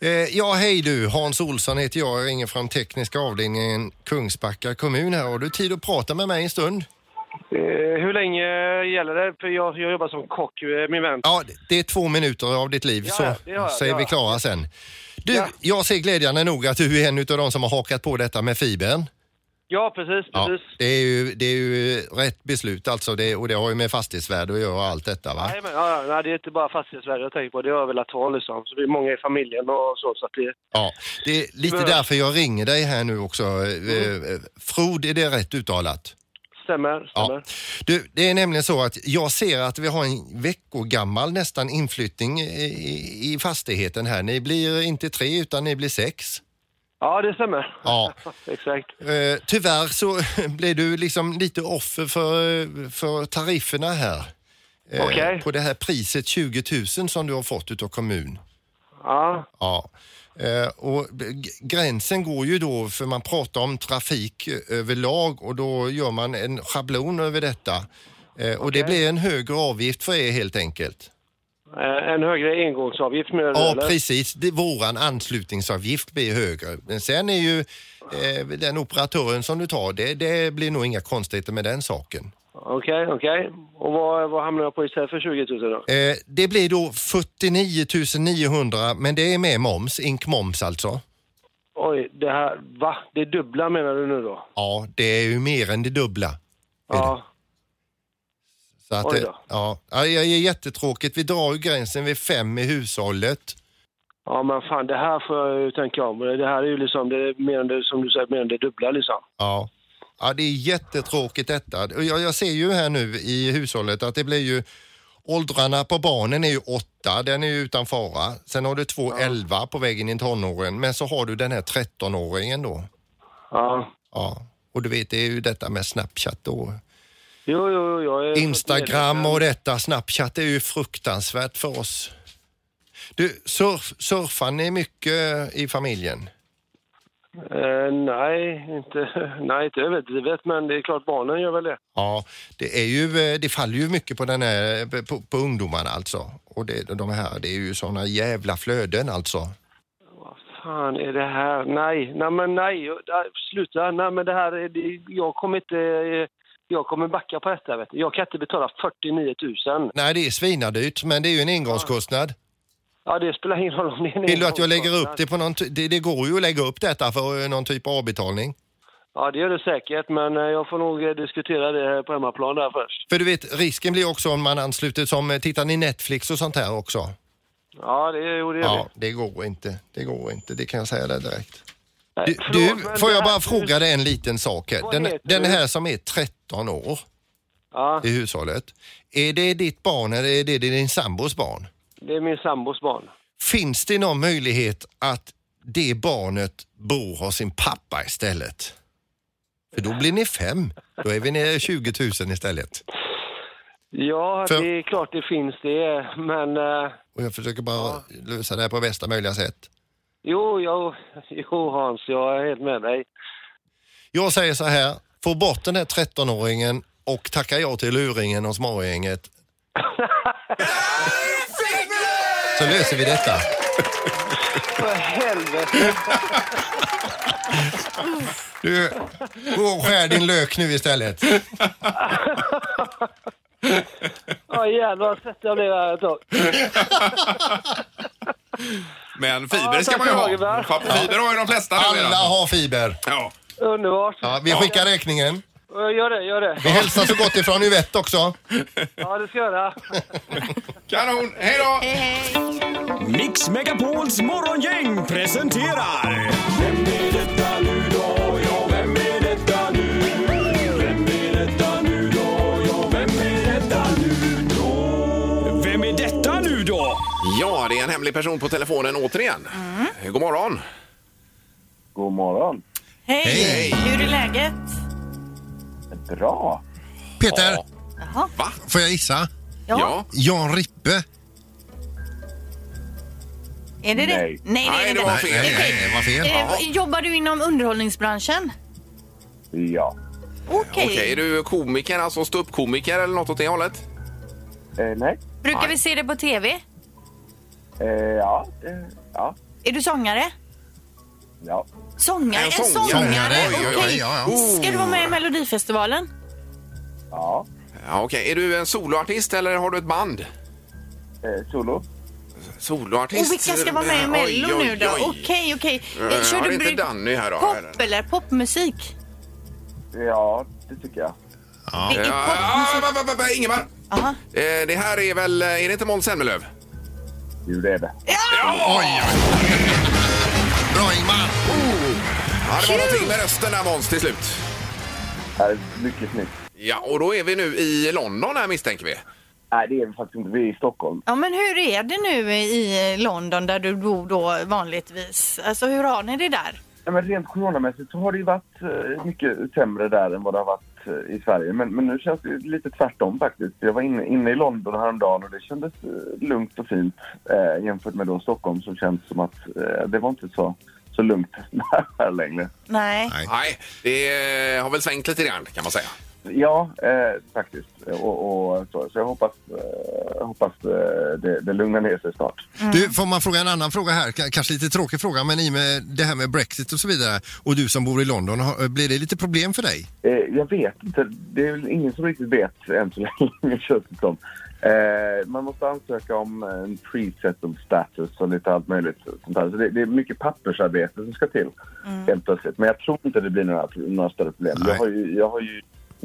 S4: Eh, ja, hej du. Hans Olsson heter jag. Jag ringer från tekniska avdelningen Kungsbacka kommun här. Har du tid att prata med mig en stund?
S8: Eh, hur länge gäller det? För jag, jag jobbar som kock, eh, min vän.
S4: Ja, det är två minuter av ditt liv
S8: Ja,
S4: så,
S8: ja, det gör jag,
S4: så
S8: det
S4: är
S8: gör
S4: vi
S8: jag.
S4: klara sen. Du,
S8: Ja.
S4: jag ser glädjande nog att du är en av de som har hakat på detta med fibern.
S8: Ja, precis,
S4: Ja,
S8: precis.
S4: det, är ju, det är ju rätt beslut alltså det, och det har ju med fastighetsvärde att göra och allt detta va?
S8: Nej, men, ja, ja, nej, det är inte bara fastighetsvärde jag tänker på. Det har jag velat ha liksom. Så vi är många i familjen och så. så att det,
S4: Ja, det är lite
S8: Men-
S4: därför jag ringer dig här nu också. Mm. Frod, är det rätt uttalat?
S8: stämmer, stämmer.
S4: Ja. Du, det är nämligen så att jag ser att vi har en veckogammal nästan inflyttning i, i fastigheten här. Ni blir inte tre utan ni blir sex.
S8: Ja, det stämmer.
S4: Ja.
S8: Exakt.
S4: Eh, tyvärr så blir du liksom lite offer för, eh, för tarifferna här. Eh,
S8: Okej.
S4: På det här priset 20 000 som du har fått utav kommun.
S8: Ja,
S4: Ja. Eh, och g- gränsen går ju då, för man pratar om trafik eh, överlag och då gör man en schablon över detta. Eh, och det blir en högre avgift för er helt enkelt.
S8: eh, en högre engångsavgift med
S4: Ja, precis. Det, våran anslutningsavgift blir högre. Men sen är ju eh, den operatören som du tar, det, det blir nog inga konstigheter med den saken.
S8: Okej, okej. Och vad, vad hamnar jag på istället för 20 000 då?
S4: Eh, det blir då 49 900, men det är med moms, ink moms alltså.
S8: Oj, det här... Va? Det är dubbla menar du nu då?
S4: Ja, det är ju mer än det dubbla.
S8: Ja.
S4: Så att,
S8: Oj
S4: eh,
S8: då.
S4: ja, ja, det är jättetråkigt. Vi drar ju gränsen vid fem i hushållet.
S8: Ja, men fan, det här får jag ju tänka om. Det här är ju liksom, det är mer än det, som du säger, mer än det dubbla liksom.
S4: Ja. ja, det är jättetråkigt detta. Och Jag, jag ser ju här nu i hushållet att det blir ju Åldrarna på barnen är ju åtta, den är ju utan fara. Sen har du två elva på vägen in i tonåren, men så har du den här 13-åringen då.
S8: Ja.
S4: Ja, och du vet, det är ju detta med Snapchat då.
S8: Jo, jo, jo. Jag är
S4: Instagram och detta, Snapchat är ju fruktansvärt för oss. Du, surf, surfar ni mycket i familjen?
S8: Eh, nej, inte, nej, inte överdrivet, men det är klart barnen gör väl det.
S4: Ja, det, är ju, eh, det faller ju mycket på, den här, eh, på, på ungdomarna alltså. Och det, de här, det är ju såna jävla flöden alltså.
S8: Vad fan är det här? Äh, Nej, nej men nej, nej, sluta. Nej men det här, är- det, jag kommer inte, eh, jag kommer backa på detta vet du. Jag kan inte betala 49 000.
S4: Nej, det är svinadyrt, men det är ju en engångskostnad.
S8: Ja, det spelar ingen roll om det är en
S4: Vill du att jag lägger upp det på någon... ty- Det, det går ju att lägga upp detta för eh, någon typ av avbetalning.
S8: Ja, det gör det säkert, men eh, jag får nog eh, diskutera det på hemmaplan där först.
S4: För du vet, risken blir också om man ansluter som... eh, Tittar ni Netflix och sånt här också?
S8: Ja, det, jo, det gör
S4: Ja,
S8: vi.
S4: det går inte. Det går inte, det kan jag säga dig direkt.
S8: Nej,
S4: Du,
S8: förlåt,
S4: du,
S8: men
S4: får
S8: det
S4: jag
S8: här-
S4: bara fråga dig en liten sak här?
S8: Vad
S4: Den,
S8: heter
S4: den
S8: du?
S4: här som är 13 år
S8: Ja,
S4: i hushållet, är det ditt barn eller är det din sambos barn?
S8: det är min sambos barn.
S4: Finns det någon möjlighet att det barnet bor hos sin pappa istället? För då blir ni fem. Då är vi nere i 20 000 istället.
S8: Ja,
S4: För-
S8: det är klart det finns det, men... eh,
S4: Och jag försöker bara lösa det här på bästa möjliga sätt.
S8: Jo, jo, jo Hans, jag är helt med dig.
S4: Jag säger så här, få bort den här 13-åringen och tacka ja till luringen hos Morgongänget. Så löser vi detta.
S8: För helvete!
S4: Du, gå och skär din lök nu istället.
S8: Ja, jävlar vad svettig jag blev här ett tag.
S2: Men fiber
S8: Ja,
S2: ska
S8: tack
S2: man ju
S8: för
S2: ha.
S8: dagen, va?
S2: Ja, Fiber har ju de flesta nu redan.
S4: Alla har fiber.
S2: Ja.
S8: Underbart.
S4: Ja, vi skickar räkningen.
S8: Gör det, gör det.
S4: Vi hälsar så gott ifrån Yvette också.
S8: Ja, det ska jag göra.
S2: Kanon! Hej då!
S10: Mix Megapols morgongäng presenterar... Vem är detta nu då? Ja, vem är detta nu? Vem är detta nu då? Ja, vem är detta nu då? Vem är detta nu då?
S2: Ja, det är en hemlig person på telefonen återigen.
S3: Mm.
S2: God morgon!
S11: God morgon.
S3: Hej.
S4: Hej.
S3: Hur är läget?
S11: Bra.
S4: Peter,
S2: Ja. Va?
S4: får jag gissa?
S2: Ja.
S4: Jan Rippe.
S3: Är det det?
S11: Nej.
S3: Nej, det är
S11: Nej,
S3: det
S11: det
S3: inte.
S11: var fel.
S3: Okej.
S11: Nej, det var fel.
S3: Eh,
S11: Jaha.
S3: Jobbar du inom underhållningsbranschen?
S11: Ja.
S3: Okej.
S2: Okej, är du komiker, alltså ståuppkomiker eller något åt det hållet?
S11: nej.
S3: Brukar vi se det på tv?
S11: Eh, ja. det- ja.
S3: Är du sångare?
S11: Ja.
S3: Sångare? En
S11: En
S3: sångare?
S11: sångare. Sångare, oj, oj, oj,
S3: Okej.
S11: ja, ja.
S3: Ska du vara med i Melodifestivalen?
S11: Ja.
S2: ja Okej, är du en soloartist eller har du ett band?
S11: solo.
S2: Soloartist?
S3: Och vilka ska vara med i
S2: Oj,
S3: Mello
S2: oj,
S3: nu då?
S2: oj.
S3: Okej, okej. Eh,
S2: Eh,
S3: Kör
S2: var
S3: du
S2: det inte
S3: bry-
S2: Danny här då?
S3: Pop eller popmusik?
S11: Ja, det tycker jag.
S2: Ja.
S11: Det är
S2: Ah, va, va, va, va, Ingemar! Eh, det här är väl, eh, är det inte Måns Zelmerlöw?
S11: Jo, det är det.
S2: Oj! Bra Ingmar! Oh. Ja, det var någonting med rösten där Måns till slut.
S11: mycket snyggt.
S2: Ja, och då är vi nu i London här misstänker vi.
S11: Nej, det är vi faktiskt inte. Vi är i Stockholm.
S3: Ja, men hur är det nu i London där du bor då vanligtvis? Alltså hur har ni det där?
S11: Ja, men rent coronamässigt så har det ju varit eh, mycket sämre där än vad det har varit eh, i Sverige. Men, men nu känns det ju lite tvärtom faktiskt. Jag var inne, inne i London häromdagen och det kändes eh, lugnt och fint eh, jämfört med då Stockholm som känns som att eh, det var inte så, så lugnt här längre.
S3: Nej.
S2: Nej, det eh, har väl svängt lite grann kan man säga.
S11: Ja, eh, faktiskt. Och, och, så, så jag hoppas, eh, hoppas eh, det, det lugnar ner sig snart.
S4: Du, får man fråga en annan fråga här? K- Kanske lite tråkig fråga, men i och med det här med Brexit och så vidare och du som bor i London, har- eh, blir det lite problem för dig?
S11: Eh, jag vet inte. Det är väl ingen som riktigt vet än så länge, känns det som. Eh, man måste ansöka om en pre-settled status och lite allt möjligt. Sånt där. Så det, det är mycket pappersarbete som ska till helt plötsligt. Men jag tror inte det blir några, några större problem. Jag har ju, jag har ju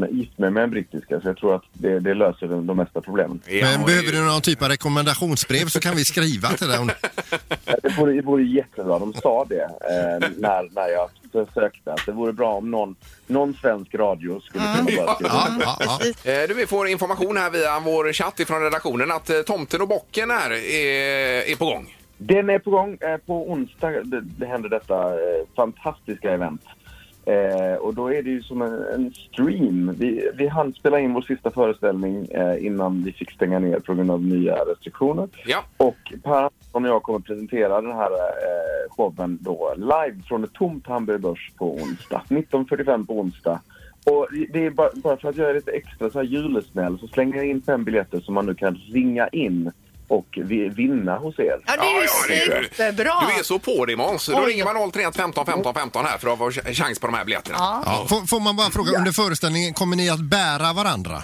S11: gift mig med en brittiska så jag tror att det, det löser de, de mesta problemen.
S4: men behöver du någon typ av rekommendationsbrev så kan vi skriva till dig. om-
S11: Ja, Det vore, det vore jättebra. De sa det eh, när, när jag sökte. Att det vore bra om någon, någon svensk radio skulle kunna
S4: Mm.
S11: bara skriva.
S2: Eh, Du, vi får information här via vår chatt ifrån redaktionen att eh, Tomten och bocken här är, är på gång.
S11: Den är på gång. Eh, På onsdag det, det händer detta eh, fantastiska event. Eh, och då är det ju som en, en stream. Vi, vi hann spela in vår sista föreställning eh, innan vi fick stänga ner på grund av nya restriktioner.
S2: Ja.
S11: Och Per Andersson och jag kommer presentera den här eh, showen då live från ett tomt Hamburg Börs på onsdag. 19.45 på onsdag. Och det är bara, bara för att jag är lite extra så här julesnäll så slänger jag in fem biljetter som man nu kan ringa in och vi- vinna hos er.
S3: Ja, det är ju superbra.
S2: Du är så på dig Måns. Då
S3: Oj.
S2: ringer man 031 15 15 15 här för att ha ch- chans på de här biljetterna.
S3: Ja.
S4: Får, får man bara fråga, under föreställningen, kommer ni att bära varandra?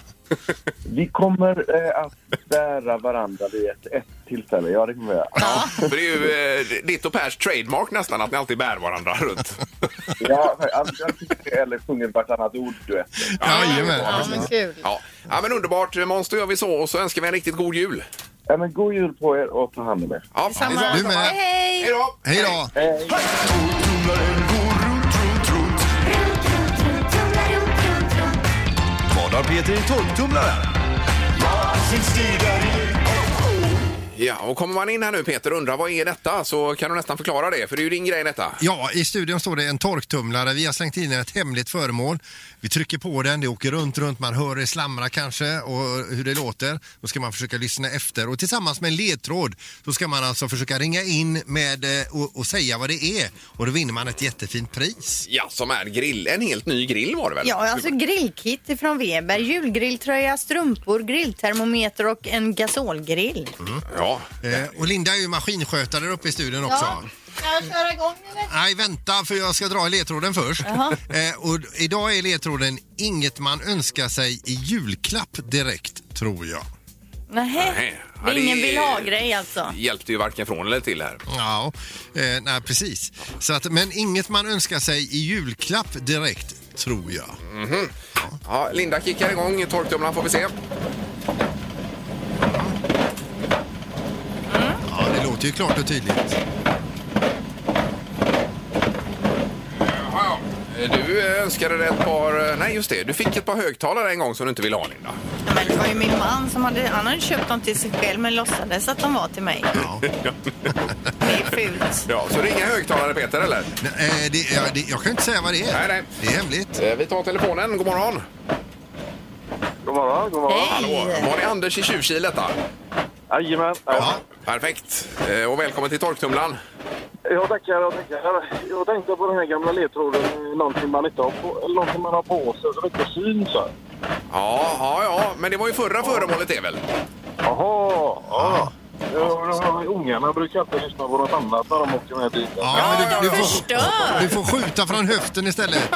S11: Vi kommer eh, att bära varandra vid ett, ett tillfälle. Ja, det kommer vi göra.
S2: För det är ju eh, ditt och Pers trademark nästan att ni alltid bär varandra runt.
S11: Ja, jag tycker, eller sjunger vartannat ord du vet.
S2: Jajamän.
S11: Ja, men
S3: kul.
S2: Ja. ja, men underbart. Måns, då gör vi så och så önskar vi en riktigt god jul.
S11: Ja, men god jul på er och ta hand om er.
S2: Ja, detsamma.
S4: Du med.
S3: Hej!
S2: Hej då!
S4: Hej då!
S10: Vad har Peter i torktumlaren?
S2: Ja, och kommer man in här nu Peter och undrar vad är detta så kan du nästan förklara det, för det är ju din grej detta.
S4: Ja, i studion står det en torktumlare. Vi har slängt in ett hemligt föremål. Vi trycker på den, det åker runt, runt. Man hör det slamra kanske och hur det låter. Då ska man försöka lyssna efter och tillsammans med en ledtråd så ska man alltså försöka ringa in med eh, och, och säga vad det är och då vinner man ett jättefint pris.
S2: Ja, som är grill. En helt ny grill var det väl?
S3: Ja, alltså grillkit från Weber, julgrilltröja, strumpor, grilltermometer och en gasolgrill.
S2: Mm. Ja.
S4: Eh, och Linda är ju maskinskötare där uppe i studion
S3: Ja.
S4: också.
S3: Ska jag köra igång eller?
S4: Nej, vänta för jag ska dra i ledtråden först.
S3: Jaha.
S4: Eh, och d- idag är ledtråden inget man önskar sig i julklapp direkt, tror jag.
S3: Nej.
S2: Nej.
S3: Det
S2: Ja,
S3: är
S2: det
S3: ingen
S2: är-
S3: vill ha-grej alltså.
S2: Hjälpte ju varken från eller till här.
S4: Ja, eh, nej precis. Så att, men inget man önskar sig i julklapp direkt, tror jag.
S2: Mhm. Ja, Linda kickar igång torktumlaren får vi se.
S4: Ja, det låter ju klart och tydligt.
S2: Jaha. Du eh, önskade dig ett par... eh, Nej, just det. Du fick ett par högtalare en gång som du inte ville ha, Linda.
S3: Men det var ju min man som hade, han hade köpt dem till sig själv men låtsades att de var till mig. Det är fult.
S2: Ja, så det är inga högtalare, Peter, eller?
S4: Nej, eh, det, ja, det, jag kan ju inte säga vad det är.
S2: Nej, nej.
S4: Det är hemligt.
S2: Eh, Vi tar telefonen. God morgon.
S11: God morgon, god morgon.
S2: Hallå. Var det Anders i Tjuvkil detta?
S11: Jajamän.
S2: Ja. Perfekt. Eh, Och välkommen till torktumlaren.
S12: Jag tackar, jag tackar. Jag tänkte på den här gamla ledtråden, eh, någonting man inte har på, eller någonting man har på sig som inte syns. va?
S2: Ja, ja, ja, men det var ju förra föremålet det väl?
S12: Jaha, ja. Jag- jag- jag- Ungarna brukar inte lyssna på något annat när de åker med bilen.
S4: Ja, men du, du,
S3: får,
S4: du får skjuta från höften istället.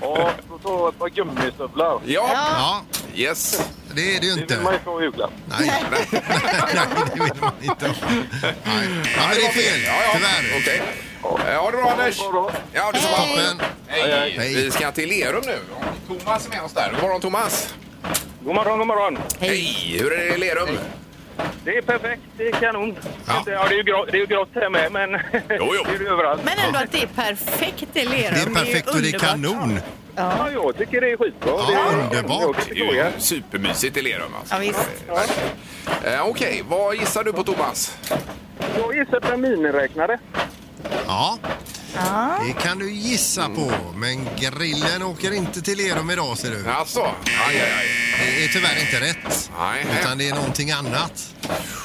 S12: Ja, då tar jag ett par gummistövlar.
S2: Ja. Yes.
S4: Det är det ju
S12: Det
S4: inte.
S12: vill man ju inte ha julklapp.
S4: Nej. det vill man inte ha. Nej, ja, men det är fel.
S2: Ja, ja. Tyvärr. Okej. Ja, det är bra Anders. Ja, det är Toppen. Hej.
S4: Hej.
S2: Vi ska till Lerum nu. Och Thomas är med oss där. God morgon Thomas.
S13: God morgon, god morgon.
S2: Hej. Hur är det i Lerum?
S13: Det är perfekt, det är kanon. Ja. Det, är ju grå, det är ju grått här med, men det är det överallt.
S3: Men ändå att det är perfekt i Lerum.
S4: Det är perfekt och det är kanon.
S13: Ja, jag tycker det är skitbra.
S4: Ja, underbart.
S2: Det är ju supermysigt i Lerum. Alltså.
S3: Ja, visst.
S2: Eh, Okej, vad gissar du på Thomas?
S13: Jag gissar på en miniräknare.
S4: Ja. Det kan du gissa på, men grillen åker inte till Lerum idag ser du.
S2: Alltså, aj, aj, aj.
S4: Det är tyvärr inte rätt. Utan det är någonting annat.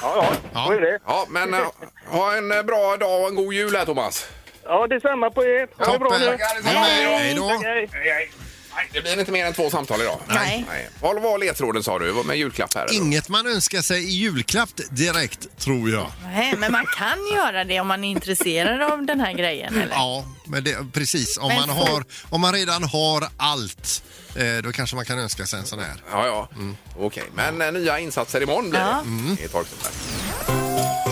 S13: Ja,
S4: ja.
S13: Så är det.
S2: Ja, men eh, ha en eh, bra dag och en god jul här Thomas.
S13: Ja, detsamma på er. Ha det bra
S2: Toppen.
S13: nu.
S2: Tackar, detsamma. Hej då.
S13: Tack, hej.
S2: Nej, Det blir inte mer än två samtal idag. Nej. Vad var ledtråden sa du? Vad Med julklapp här? eller?
S4: Inget man önskar sig i julklapp direkt, tror jag.
S3: Nej, men man kan göra det om man är intresserad av den här grejen. Eller?
S4: Ja, men det, precis. Om
S3: Men
S4: man,
S3: så-
S4: har, om man redan har allt, eh, då kanske man kan önska sig en sån här.
S2: Ja, ja. Mm. Okej, men eh, nya insatser imorgon blir
S4: Ja.
S2: det. I Torksen där.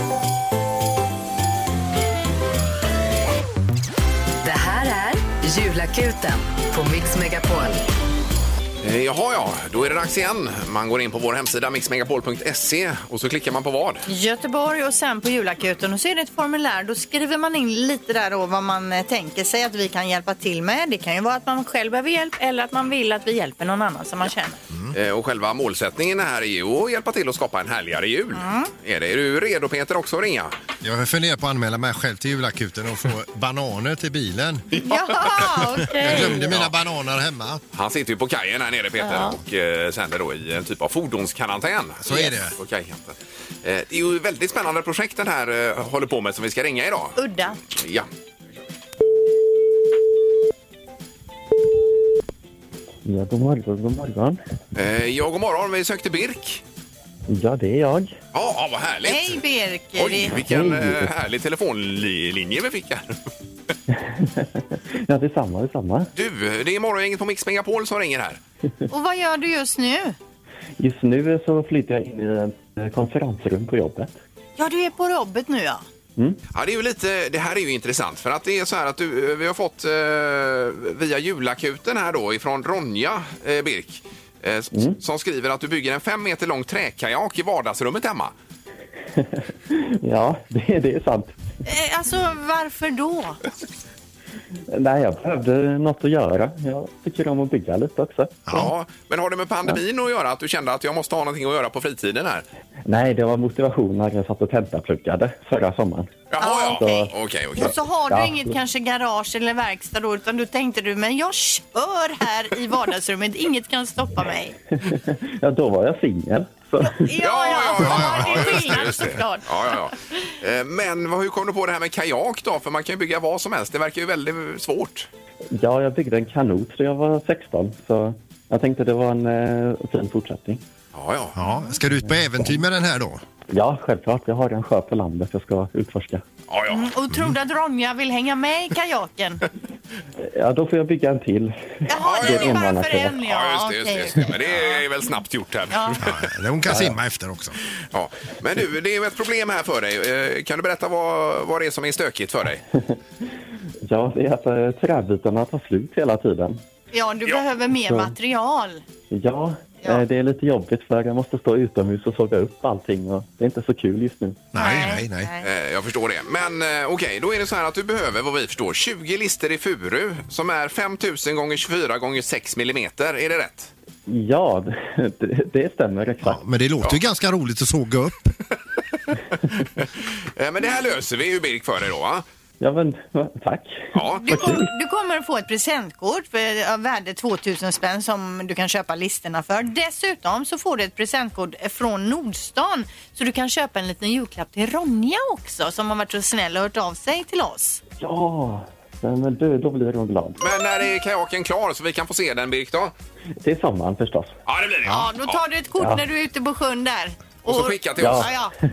S1: Det här är Julakuten på Mix Megapol.
S2: Eh, Jaha, ja. Då är det dags igen. Man går in på vår hemsida mixmegapol.se och så klickar man på vad?
S3: Göteborg och sen på julakuten och så är det ett formulär. Då skriver man in lite där då vad man eh, tänker sig att vi kan hjälpa till med. Det kan ju vara att man själv behöver hjälp eller att man vill att vi hjälper någon annan som man känner.
S4: Mm.
S2: Eh, Och själva målsättningen här är ju att hjälpa till att skapa en härligare jul.
S4: Mm.
S2: Är, det, är du redo Peter också att ringa?
S4: Jag funderar på att anmäla mig själv till julakuten och få bananer till bilen.
S3: Jaha,
S4: Jag glömde mina bananer hemma.
S2: Han sitter ju på kajen här nere Peter
S4: Ja.
S2: och eh, sänder då i en typ av fordonskarantän.
S4: Så är det.
S2: På kajkanten. Eh, det är ju ett väldigt spännande projekt den här eh, håller på med som vi ska ringa idag.
S3: Udda.
S2: Ja.
S14: Ja, god morgon, god morgon.
S2: Eh, ja, god morgon. Vi sökte Birk.
S14: Ja, det är jag.
S2: Ja, ah, vad härligt.
S3: Hej Birk!
S2: Oj, vilken
S14: Hej.
S2: eh, härlig telefonlinje vi fick här.
S14: Ja, detsamma, detsamma.
S2: Du, det är morgongänget på Mix Megapol som ringer här.
S3: Och vad gör du just nu?
S14: Just nu eh, så flyttar jag in i ett eh, konferensrum på jobbet.
S3: Ja, du är på jobbet nu ja.
S2: Ja, det, är ju lite, det här är ju intressant för att det är så här att du, vi har fått eh, via julakuten här då ifrån Ronja eh, Birk eh, s- som skriver att du bygger en fem meter lång träkajak i vardagsrummet hemma.
S14: Ja, det, det är sant.
S3: Eh, Alltså varför då?
S14: Nej, jag behövde något att göra. Jag tycker om att bygga lite också.
S2: Ja, men har det med pandemin att göra att du kände att jag måste ha någonting att göra på fritiden här?
S14: Nej, det var motivation när jag satt och tentapluggade förra sommaren.
S2: Jaha,
S14: ja.
S2: Okej,
S3: Och så har du inget kanske garage eller verkstad då, utan du tänkte du, men jag kör här i vardagsrummet, inget kan stoppa mig.
S14: ja, då var jag singel. Så.
S3: Ja, ja, ja, det är skillnad
S2: just det.
S3: såklart.
S2: Ja, ja, ja. Eh, Men vad- hur kom du på det här med kajak då? För man kan ju bygga vad som helst. Det verkar ju väldigt svårt.
S14: Ja, jag byggde en kanot när jag var 16, så jag tänkte det var en eh, fin fortsättning.
S2: Ja, ja.
S4: ja. Ska du ut på äventyr med den här då?
S14: Ja, självklart. Jag har en sjö på landet jag ska utforska.
S2: Ja, ja.
S3: Mm, Och tror du att Ronja vill hänga med i kajaken?
S14: Ja, då får jag bygga en till.
S3: Jaha,
S14: Det är
S3: det är bara för
S14: enmannakraft.
S3: en ja.
S2: just det, just det,
S3: okej.
S2: just det. Men det är väl snabbt gjort här.
S3: Ja.
S4: Hon kan simma efter också.
S2: Ja. Men du, det är ju ett problem här för dig. Eh, Kan du berätta vad, vad det är som är stökigt för dig?
S14: Ja, det är att eh, träbitarna tar slut hela tiden.
S3: Ja, du behöver mer
S14: Så.
S3: material.
S14: Ja, eh, det är lite jobbigt för jag måste stå utomhus och såga upp allting och det är inte så kul just nu.
S4: Nej, nej, nej.
S2: Eh, Jag förstår det. Men eh, okej, då är det så här att du behöver vad vi förstår 20 lister i furu som är 5000 gånger 24 gånger 6 millimeter. Är det rätt?
S14: Ja, det, det stämmer exakt.
S4: Men det låter ju ganska roligt att såga upp.
S2: Eh, Men det här löser vi ju Birk för dig då va?
S14: Ja, men tack.
S2: Ja.
S3: Du, kom, du kommer att få ett presentkort för, av värde 2000 spänn som du kan köpa listorna för.
S2: Mm.
S3: Dessutom så får du ett presentkort från Nordstan så du kan köpa en liten julklapp till Ronja också som har varit så snäll och hört av sig till oss.
S14: Ja, nej, men du, då blir jag glad.
S2: Men när är kajaken klar så vi kan få se den, Birk? Då?
S14: Till sommaren förstås.
S2: Ja, det blir det.
S3: Ja, då tar du ett kort
S14: Ja.
S3: när du är ute på sjön där.
S2: Och så skicka till oss.
S3: Ja, ja.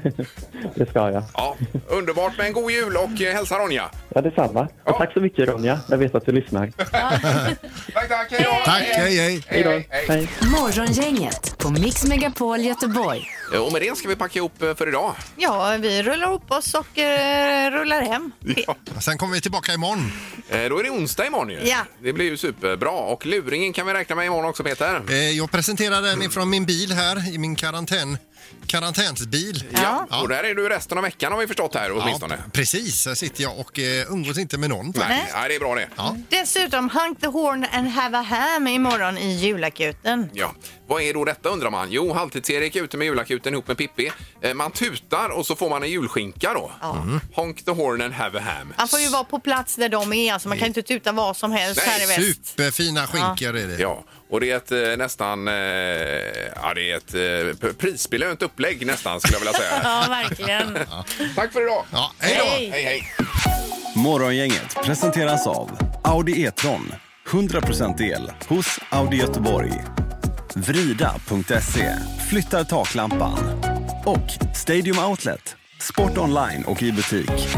S14: Det ska jag.
S2: Ja, underbart. Men god jul och eh, hälsa Ronja.
S14: Ja, detsamma. Och tack så mycket Ronja. Jag vet att du lyssnar.
S2: Tack, tack. Hej då.
S4: Tack, hej, hej.
S14: Hej då. Hej.
S1: Morgongänget på Mix Megapol Göteborg.
S2: Eh, Och med det ska vi packa ihop eh, för idag.
S3: ja, vi rullar ihop oss och eh, rullar hem.
S2: Ja.
S4: Sen kommer vi tillbaka imorgon.
S2: Eh, Då är det onsdag imorgon ju.
S3: Ja.
S2: Det blir ju superbra. Och luringen kan vi räkna med imorgon också Peter.
S4: Eh, Jag presenterar den ifrån min bil här, i min karantän, karantänsbil.
S2: Ja. Och där är du resten av veckan har vi förstått här åtminstone.
S4: Ja, precis, här sitter jag och eh, umgås inte med någon.
S2: Nej, nej, det är bra det.
S4: Ja.
S3: Dessutom Hunk the Horn and Have a Ham imorgon i julakuten.
S2: Ja. Vad är då detta undrar man? Jo, halvtids-Erik är ute med julakuten ihop med Pippi. Eh, Man tutar och så får man en julskinka då. Mm. Honk the horn and have a ham.
S3: Han får ju vara på plats där de är, alltså man kan ju inte tuta vad som helst
S2: Mm. Nej,
S3: här i väst.
S4: Superfina skinkor är det.
S2: Ja, och det är ett eh, nästan... Eh, ja, det är ett eh, p- prisbelönt upplägg nästan skulle jag vilja säga.
S3: Ja, verkligen.
S2: Tack för idag!
S4: Ja,
S2: hej då!
S3: Hej.
S2: Hej, hej.
S10: Morgongänget presenteras av Audi E-tron. 100% el hos Audi Göteborg. Vrida.se flyttar taklampan. Och Stadium Outlet. Sport online och i butik.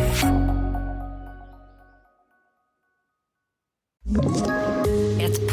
S15: Ett